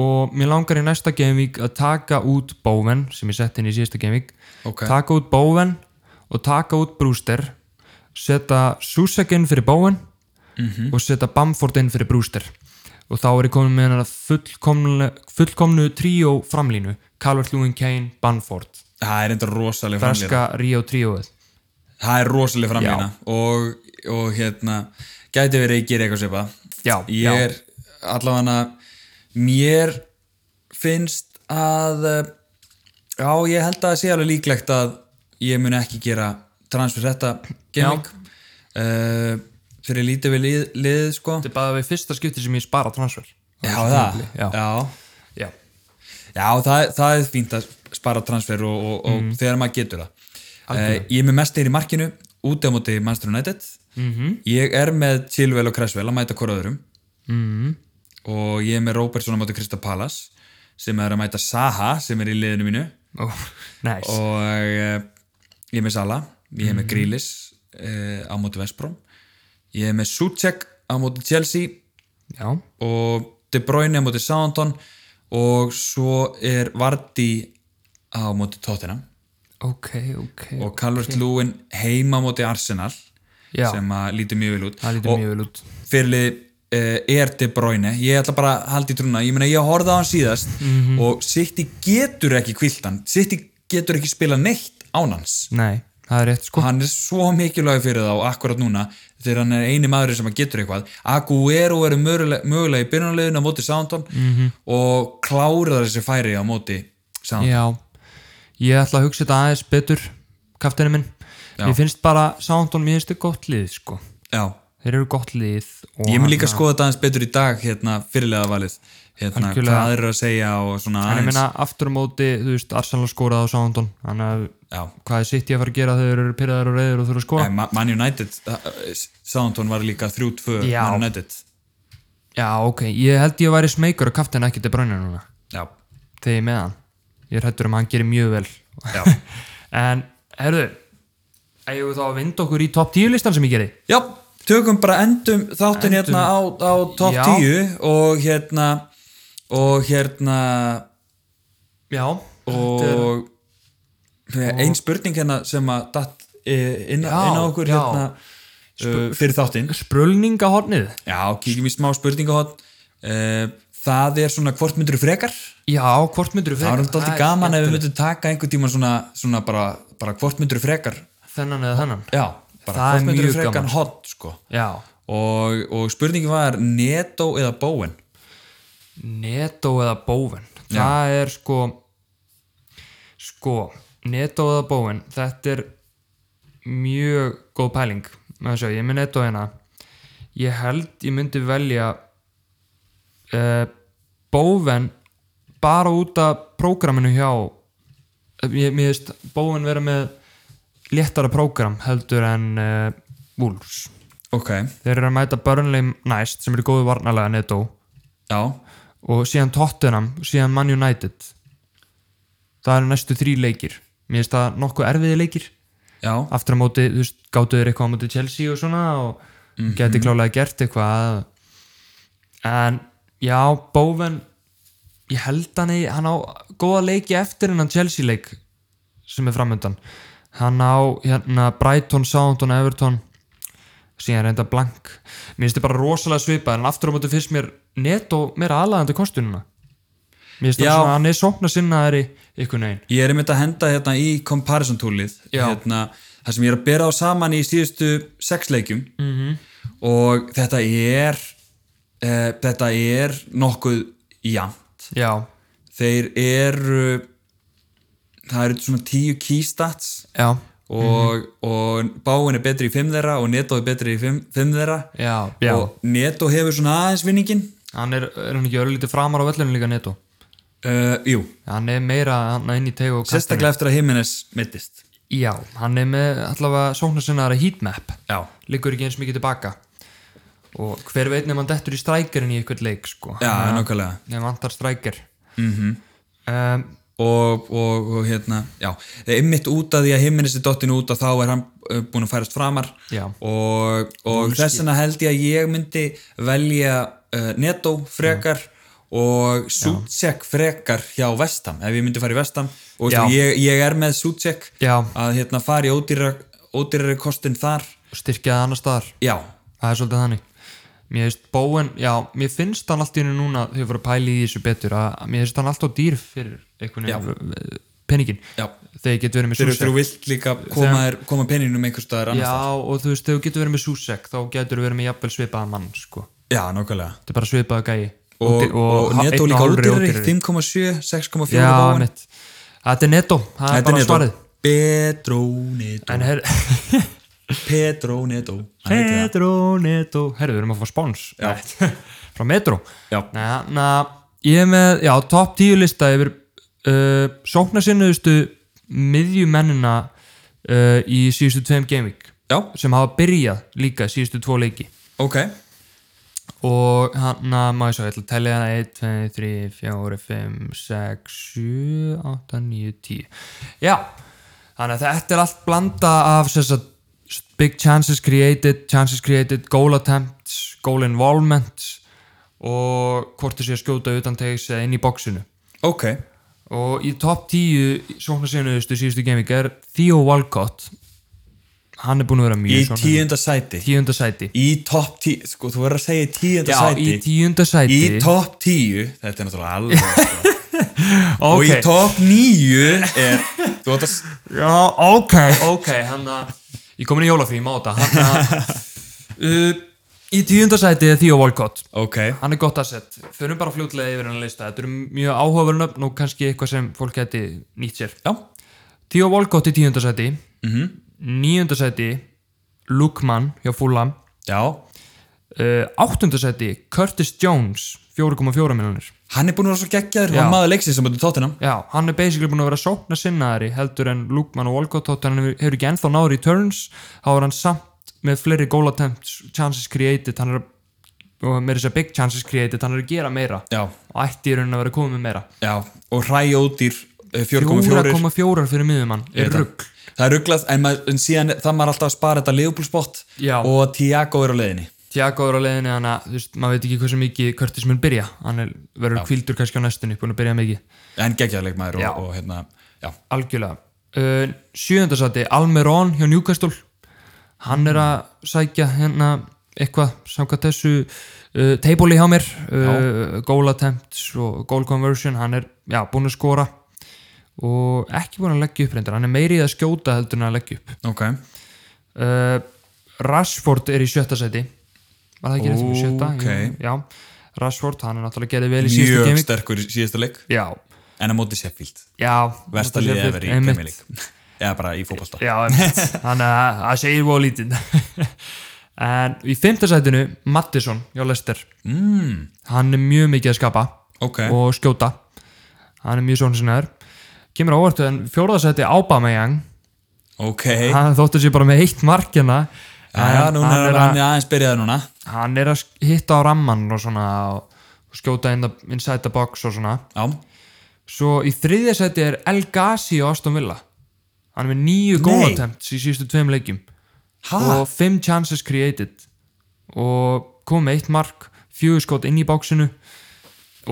og mér langar í næsta gaming að taka út Bowen sem ég sett inn í síðasta gaming ok taka út Bowen og taka út Brewster setja Susek inn fyrir Bowen Mhm. og setja Bamford inn fyrir Brewster og þá er ég komin með hana fullkomnu, fullkomnu tríó framlínu Calvert-Lewin Kane, Bamford það er enda rosalega framlýra Ferska Rio tríóið það er rosalega framlýna og, og hérna gæti verið að ég gera eitthvað svipa Já, já. ég er allavega mér finnst að eh, já, ég held að það sé alveg líklegt að ég mun ekki gera transfer þetta gaming uh, fyrir lítið við lið, liðið sko Þetta er bara við fyrsta skipti sem ég spara transfer já, það, Já, já. já. Já, það, það er fínt að spara transfer og, og, og þegar maður getur það. Uh, ég er með mest þeir í markinu, úti á móti Manchester United. Ég er með Chilwell og Cresswell að mæta hvora öðrum Mm. og ég er með Robertson á móti Crystal Palace sem er að mæta Saha sem er í liðinu mínu Ó, nice. og uh, ég er með Sala, ég er með Grealish uh, á móti Vestbrom ég er með Suchek á móti Chelsea Já, og De Bruyne á móti Southampton og svo er Vardy á móti Tottenham ok, ok og Calvert Lewin heima á móti Arsenal Já, sem að lítur mjög vel út það lítur og mjög vel út fyrirlið uh, er De Bruyne ég ætla bara að halda í trúna, ég meina ég horfði á hann síðast Mhm. og City getur ekki kvilt hann, City getur ekki spila neitt án hans Nei, það er rétt sko og hann er svo mikilvæg fyrir þá akkurat núna þegar hann er eini maður sem að getur eitthvað Aguero er mögulega, mögulega í byrjunarleginu á móti Southampton Mhm. -hmm. og klárar þessi færi á móti Southampton Já, ég ætla að hugsa þetta aðeins betur kaftinu minn Ég finnst bara Soundon mér finnst þetta gott lið sko já. Þeir eru gott lið og ég mun líka skoða þetta aðeins betur í dag hérna fyrirlega valið hérna, Algjörlega. hvað þeir eru að segja og svona En ég aðeins meina aftur á móti, þú veist, Arsenal skoraði á Soundon Þannig að já. hvað er sitt ég að fara að gera þegar þeir eru pyrraðar og reyður og þurfa að skora En Ma- Man United eh, Southampton var líka 3-2 Já. Man United Já, ok, ég held ég væri smeykur að kaftinu ekki til brænja núna já, Þegar ég er með hann Ég er hættur um að hann gerir mjög vel já, En, herðu Ægum við þá að vinda okkur í top 10 listan sem ég gerði já tökum bara endum þáttin hérna á, á top Já. 10 og hérna og hérna Já, og ein spurning hérna sem að datt eh, inn, Já, inn á okkur já. hérna uh, fyrir þáttinn Sprölninga hornið já, kíkjum í smá spurningahotn uh, það er svona hvort myndur frekar Já, hvort myndur þú það var alltaf gaman ef við myndum taka einhvern tíma svona, svona bara, bara hvort myndur frekar Þennan eða þennan já, bara Það er hvort myndur mjög frekar gaman. hot sko. Já, og, og spurningin var Neto eða Bowen Neto eða Bóven Það er sko Sko Neto eða Bóven Þetta er mjög góð pæling Má sjá, Ég er með Neto hérna Ég held ég myndi velja uh, Bóven bara út af prógraminu hjá eh, ég, Mér veist Bóven vera með léttara prógram heldur en uh, Wolves ok, Þeir eru að mæta Burnley næst sem eru góðu varnalega netto já og síðan Tottenham, síðan Man United Það eru næstu þrý leikir Mér finnst það nokkuð erfiði leikir já, Aftur á móti, þú veist, gáttu þeir eitthvað á móti Chelsea og svona og geti klálega gert eitthvað En já, Bowen ég held hann í, hann á góða leiki eftir hennan Chelsea leik sem er framöndan hann á hérna Brighton, Southampton, Everton síðan reynda blank mér finnst þetta bara rosalega svipað en aftur á móti finnst mér netto meira aðlaðandi kostununa mér finnst Já. það svona hann er sókna sinnaðari ykkur negin Ég er einmitt að henda hérna í comparison toolið Já. hérna, það sem ég er að bera á saman í síðustu sex leikjum -hmm. Mhm. og þetta er e, þetta er nokkuð jafnt. já, Þeir eru það eru svona tíu key stats já, og, Mhm. og báin er betri í fimm þeirra og Neto er betri í fimm, fimm þeirra já, já. og Neto hefur svona aðeins vinningin hann er, er hann ekki örlítið framar á vellunum líka netto uh, Jú, hann er meira hann inn í tegu og kantinum. sérstaklega eftir að Jimenez mittist já, hann er með allavega sókna sinnaðari heatmap Já, liggur ekki eins mikið tilbaka og hver veit nefnum hann dettur í strækirinn í eitthvað leik sko já, nákvæmlega nefnum vantar strækir mm um, og, og, og hérna, já það er ymmit út að því að himminnisti dottinu út að þá er hann uh, búin að færast framar Já. og, og þess vegna held ég að ég myndi velja uh, Neto frekar og Sucek frekar hjá Vestam ef ég myndi fara í Vestam og Já. veistu, ég, ég er með Sucek Já. að hérna fara í ódýra, ódýrari kostin þar styrkjaði annar staðar já, það er svolítið þannig mér finnst Bowen, já, mér finnst hann allt í hennu núna þegar ég voru að pæla í þessu betur að mér finnst hann alltaf dýr fyrir einhvern veginn peningin já þegar ég get verið með þeir eru Susek þú vilt líka koma, þeir, koma peninum einhvers staðar annars já, staðar. og þú veist, þegar þú getur verið með Susek þá getur verið með jafnvel svipaða mann sko. já, nákvæmlega þetta er bara svipaða gæi og, Ódýr- og, Neto einn líka hálfri ódýrari ódýrari. 5,7, 6,4 já, báinn. mitt þetta er netto, það er Þetta bara er svarið Neto Pedro Neto en her Pedro Neto Hann heitir það. Metro, Netto herru, við erum að fá spáns frá Metro Já. na, na, ég er með, já, top 10 lista yfir uh, sóknarsinnuðustu miðjumennina uh, í síðustu tveim gameweek Já, sem hafa byrjað líka síðustu tvo leiki ok og hann að maður svo, ég ætla að tellja það 1, 2, 3, 4, 5, 6, 7, 8, 9, 10 já, þannig að þetta er allt blanda af sem sagt, big chances created, chances created goal attempts, goal involvement og hvort þessi að skjóta utan tegs eða inn í bóksinu Ok, og í topp 10 sóknarsinuðustu síðustu gaming er Theo Walcott hann er búin að vera í mjög sóknarsinnuður. tíunda sæti tíunda sæti Í topp tíu, sko þú verður að segja í tíunda já, sæti í tíunda sæti Í topp tíu Þetta er náttúrulega alveg Og í okay. topp níu er Þú átt að s- Já, ok Ok, hann að Ég komin í jólafrým á þetta hann að uh, Í tíunda sæti er Theo Walcott Ok, Hann er gott að sett Förum bara fljótlega yfir hann að lista Þetta eru mjög áhugaverð nöfn og kannski eitthvað sem fólk geti nýtt sér já Theo Walcott í tíunda sæti mm -hmm. Níunda sæti Lukman hjá Fulham Já, uh, Áttunda sæti Curtis Jones 4,4 miljonir hann er búin að vera svo geggjaður og maður leiksins sem búin að tóttina Já, hann er basically búin að vera sókna sinnaðari heldur en Lukman og Volkott þótt hann hefur- hefur ekki ennþá náður í turns þá er hann samt með fleiri goal attempts chances created hann er að og með þess að big chances created hann er að gera meira Já, og ætti í raunin að vera komið með meira já Og hræ ódýr eh, 4,4 4,4 fyrir miðjumann er rugg Það er rugglað, en, maður- en síðan það maður alltaf að spara þetta liðbúlspott Já. og Tiago er á leiðinni Tiago er á leiðinni þannig að þú veist, maður veit ekki hversu mikið Curtis mun byrja hann er, verður kvildur kannski á næstunni búin að byrja mikið en geggjaðleikmaður Já. og, og hérna já, algjörlega uh, sjöndasæti, Almeron hjá Newcastle hann er að sækja hérna eitthvað samkvæmt þessu uh, teibóli hjá mér uh, goal attempts og goal conversion hann er, já, búinn að skora og ekki búinn að leggja upp reyndar hann er meiri í að skjóta heldur en að leggja upp ok uh, Rashford er í sjötta sæti var það ekki rétt með sjötta? Ókei. Jú, já, Rashford, hann er náttúrulega gerði vel í síðustu mjög gaming sterkur í síðasta leik já, en að móti Sheffield, já versta liðið eða verið í Einmitt. Premier League eða bara í fótbolta Já, einmitt. þannig að það segir voða lítið En í fimmtasætinu Mattisson hjá Lester mm, Hann er mjög mikið að skapa ok, og skjóta Hann er mjög svona sinnaður Kemur á óvart en fjórðasæti Aubameyang ok Hann þóttur sér bara með eitt markina já, núna hann, er er hann aðeins byrjaði núna að, hann er að sk- hitta á ramman og svona og og skjóta in the, inside the box og svona já, Svo í þriðasæti er El Gassi og Aston Villa Hann er með nýju Nei. góð attempts í síðustu tveim leikjum ha, og 5 chances created og kom með eitt mark fjögur skot inn í bóksinu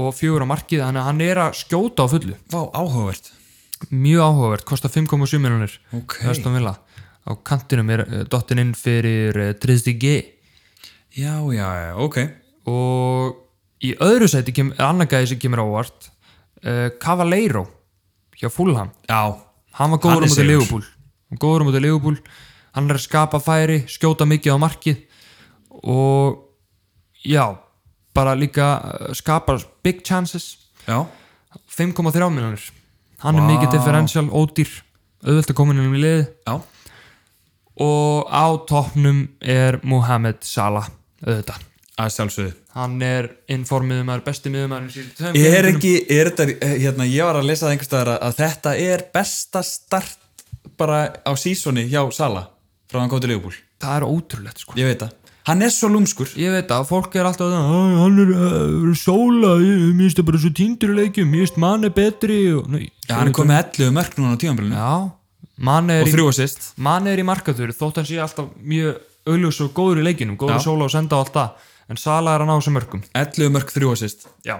og fjögur á markið, þannig að hann er að skjóta á fullu, vá, áhugavert mjög áhugavert kostar 5,7 miljonir ok, á kantinum er uh, dottin inn fyrir uh, 3DG já, já, já, ok og í öðru sæti kem, annar gæði sem kemur á óvart uh, Cavaleiro hjá Fulham já, hann var Hann er góður á móti sigur. Leopold hann var góður á móti Leopold hann er að skapa færi, skjóta mikið á markið og já, bara líka uh, skapa big chances já, 5,3 miljonir hann er Vá. mikið differential, ódýr auðvöld að koma inn um í liði já og á toppnum er Mohamed Salah auðvitað, að sjálfsögðu hann er informiðumar, besti miðumar er ekki, er þetta, eh, hérna, ég var að lesa það einhvers staðar að, að þetta er besta start bara á sísoni hjá Sala frá hann kom til Leopold, það er ótrúlegt sko ég veit það hann er svo lúmskur Ég veit að fólk er alltaf að "Æ, hann er uh, sóla, ég- mér finnst það bara svo tíndur í leikjum, mér finnst mann er betri og, nei, Já, hann er komið 11 mörg núna á tímanbílunum já, mann er og í, þrjú assist mann er í markaður þótt hann sé alltaf mjög augljós og góður í leikinum, góður Já. sóla og senda og allt það en Sala er að ná þessum mörgum 11 mörg, þrjú assist já,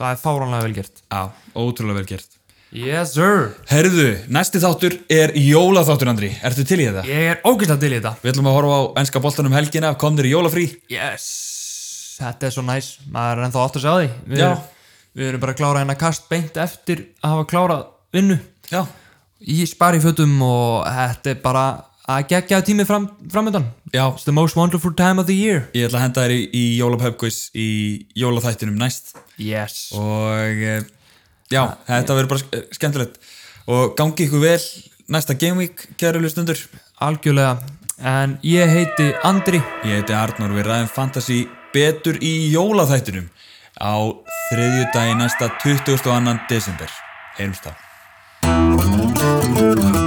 það er fáránlega vel gert Já, ótrúlega vel gert yes sir, Herðu, næsti þáttur er jólaþáttur Andri, ertu til í þetta? ég er ógæslega til í þetta Við ætlum að horfa á ennska boltanum um helgina, kom þér í jólafrí yes, þetta er svo næs maður er ennþá átt að segja því við, Já. erum- við erum bara að klára hennar kast beint eftir að hafa klárað vinnu Já, í sparifötum og þetta er bara að gegja tími fram, framöndan já it's the most wonderful time of the year Ég ætla að henda þér í, í jólapöpkvís í jólaþættinum næst yes, og eh, já, þetta verður bara sk- eh, skemmtilegt og gangi ykkur vel næsta Game Week, kæru hlustundur algjörlega en ég heiti Andri Ég heiti Arnór, við ræðum Fantasy betur í jólaþættinum á þriðju dagi næsta 22. desember Heyrumst þá